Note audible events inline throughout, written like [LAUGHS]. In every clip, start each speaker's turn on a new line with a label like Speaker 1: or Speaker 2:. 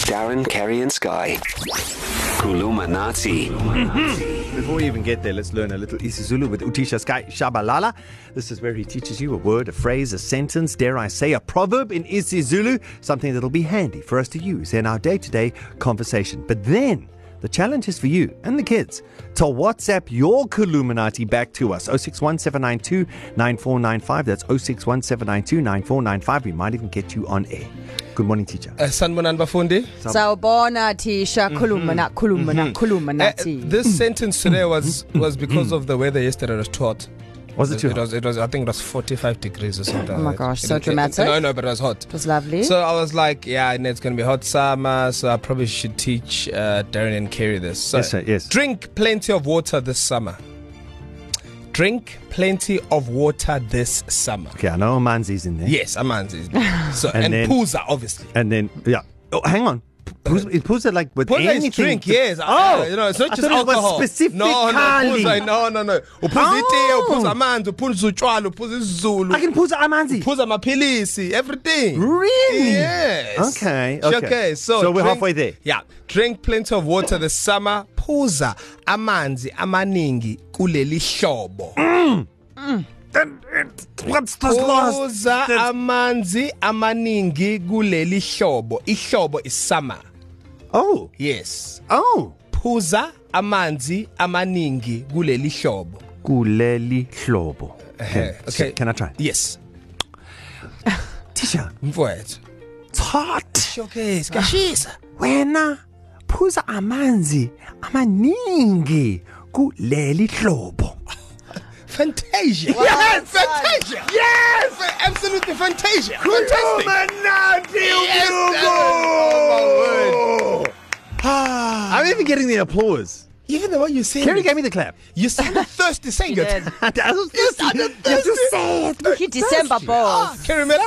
Speaker 1: Darren, Kerry, and Sky. Kulumanati.
Speaker 2: Before we even get there, let's learn a little isiZulu with Utisha Sky Shabalala. This is where he teaches you a word, a phrase, a sentence, dare I say, a proverb in isiZulu, something that'll be handy for us to use in our day to day conversation. But then, the challenge is for you and the kids to WhatsApp your Columinati back to us 061792 9495. That's 061792 9495. We might even get you on air. Good morning, teacher.
Speaker 3: Uh, sanibonani bafundi
Speaker 4: Sawubona thisha
Speaker 2: Mhm.
Speaker 4: khuluma na khuluma na khuluma
Speaker 2: Eh,
Speaker 3: uh,
Speaker 4: nathi.
Speaker 3: this sentence today was was because of the weather yesterday was too hot
Speaker 2: Was it too
Speaker 3: it
Speaker 2: hard?
Speaker 3: was it was i think it was 45 degrees or something oh
Speaker 4: my gosh, so dramatic. Eh?
Speaker 3: no no but it was hot
Speaker 4: It was lovely.
Speaker 3: so i was like yeah and it's gonna be hot summer so i probably should teach uh, darren and carry this so
Speaker 2: Yes, sir, yes.
Speaker 3: drink plenty of water this summer drink plenty of water this summer
Speaker 2: Okay, I know Manzi's in there.
Speaker 3: yes amanzi
Speaker 4: [LAUGHS]
Speaker 3: so
Speaker 2: And
Speaker 3: and,
Speaker 2: then-
Speaker 3: and pooza obviously
Speaker 2: And then, yeah. Oh, hang on. Pooza, is Pooza like with
Speaker 3: Pooza
Speaker 2: anything?
Speaker 3: is drink,
Speaker 2: to,
Speaker 3: yes.
Speaker 2: Oh,
Speaker 3: uh, you know, it's not
Speaker 2: I
Speaker 3: just
Speaker 2: thought It
Speaker 3: alcohol.
Speaker 2: was specifically.
Speaker 3: No, no, Pooza, no, no, no. Uphuza itiye,
Speaker 2: Oh.
Speaker 3: uphuza amanzi, uphuza utshwala, uphuza isiZulu.
Speaker 2: I can Pooza Amanzi.
Speaker 3: uphuza amaphilisi, everything.
Speaker 2: Really?
Speaker 3: Yes.
Speaker 2: Okay, okay.
Speaker 3: Okay, so
Speaker 2: So we're
Speaker 3: drink,
Speaker 2: halfway there.
Speaker 3: Yeah. Drink plenty of water this summer. Phuza amanzi amaningi kuleli hlobo.
Speaker 2: Mm. What's this last?
Speaker 3: Phuza amanzi amaningi kuleli hlobo. Ihlobo is summer.
Speaker 2: Oh,
Speaker 3: Yes.
Speaker 2: oh.
Speaker 3: Phuza amanzi amaningi kuleli hlobo.
Speaker 2: Kuleli hlobo. Okay.
Speaker 3: Eh, okay.
Speaker 2: Can I try?
Speaker 3: Yes.
Speaker 2: Tisha,
Speaker 3: Mfowethu.
Speaker 2: it's hot.
Speaker 3: Showcase, kashisa.
Speaker 2: Wena Pooza Amanzi amaningi kuleli hlobo.
Speaker 3: Ah, Fantasia. Yes, Fantasia. Yes, absolutely Fantasia. Fantastic.
Speaker 2: Manati
Speaker 3: Yes, Darren. Oh, my word.
Speaker 2: I'm even getting the applause.
Speaker 3: Even the way you say
Speaker 2: Kerry
Speaker 3: it,
Speaker 2: gave me the [LAUGHS] clap.
Speaker 3: you sounded thirsty saying it.
Speaker 4: did.
Speaker 2: I was thirsty. You have to say it.
Speaker 4: Ki December balls.
Speaker 3: Kerry Miller?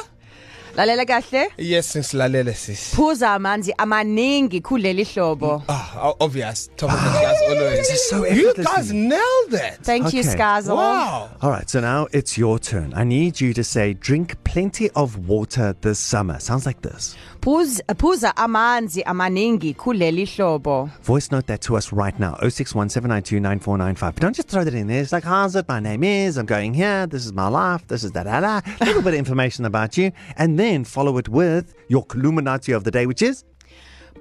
Speaker 4: Lalela kahle.
Speaker 3: Yes, sinsilalele sis.
Speaker 4: Phuza amanzi amaningi kuleli hlobo.
Speaker 3: Ah, oh, obvious. Top of the class always. This
Speaker 2: is so
Speaker 3: You
Speaker 2: effortlessly.
Speaker 3: guys nailed that.
Speaker 4: Thank you
Speaker 2: Okay.
Speaker 4: Skazo.
Speaker 3: Wow.
Speaker 2: All right, so now it's your turn. I need you to say drink plenty of water this summer. Sounds like this.
Speaker 4: Phuza phuza amanzi amaningi kuleli hlobo.
Speaker 2: Voice note that to us right now 0617929495. But don't just throw that in there. It's like, how's it? My name is, I'm going here, this is my life, this is that, da, da. A little bit of information about you. And then follow it with your Illuminati of the day, which is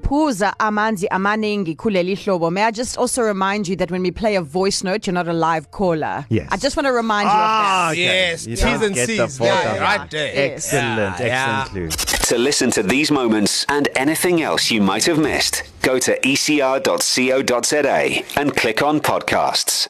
Speaker 4: Phuza amanzi amaningi kuleli hlobo. May I just also remind you that when we play a voice note, you're not a live caller.
Speaker 2: Yes.
Speaker 4: I just want to remind you
Speaker 2: Ah,
Speaker 4: of
Speaker 2: Okay,
Speaker 4: that.
Speaker 3: Yes,
Speaker 2: you
Speaker 3: T's
Speaker 2: don't
Speaker 3: and
Speaker 2: get the
Speaker 3: C's.
Speaker 2: point
Speaker 3: Yeah,
Speaker 2: of
Speaker 3: right
Speaker 2: it.
Speaker 3: there.
Speaker 4: Yes.
Speaker 2: excellent,
Speaker 3: Yeah,
Speaker 2: excellent clue.
Speaker 1: To listen to these moments and anything else you E might have missed, go to ecr.co.za and click on podcasts.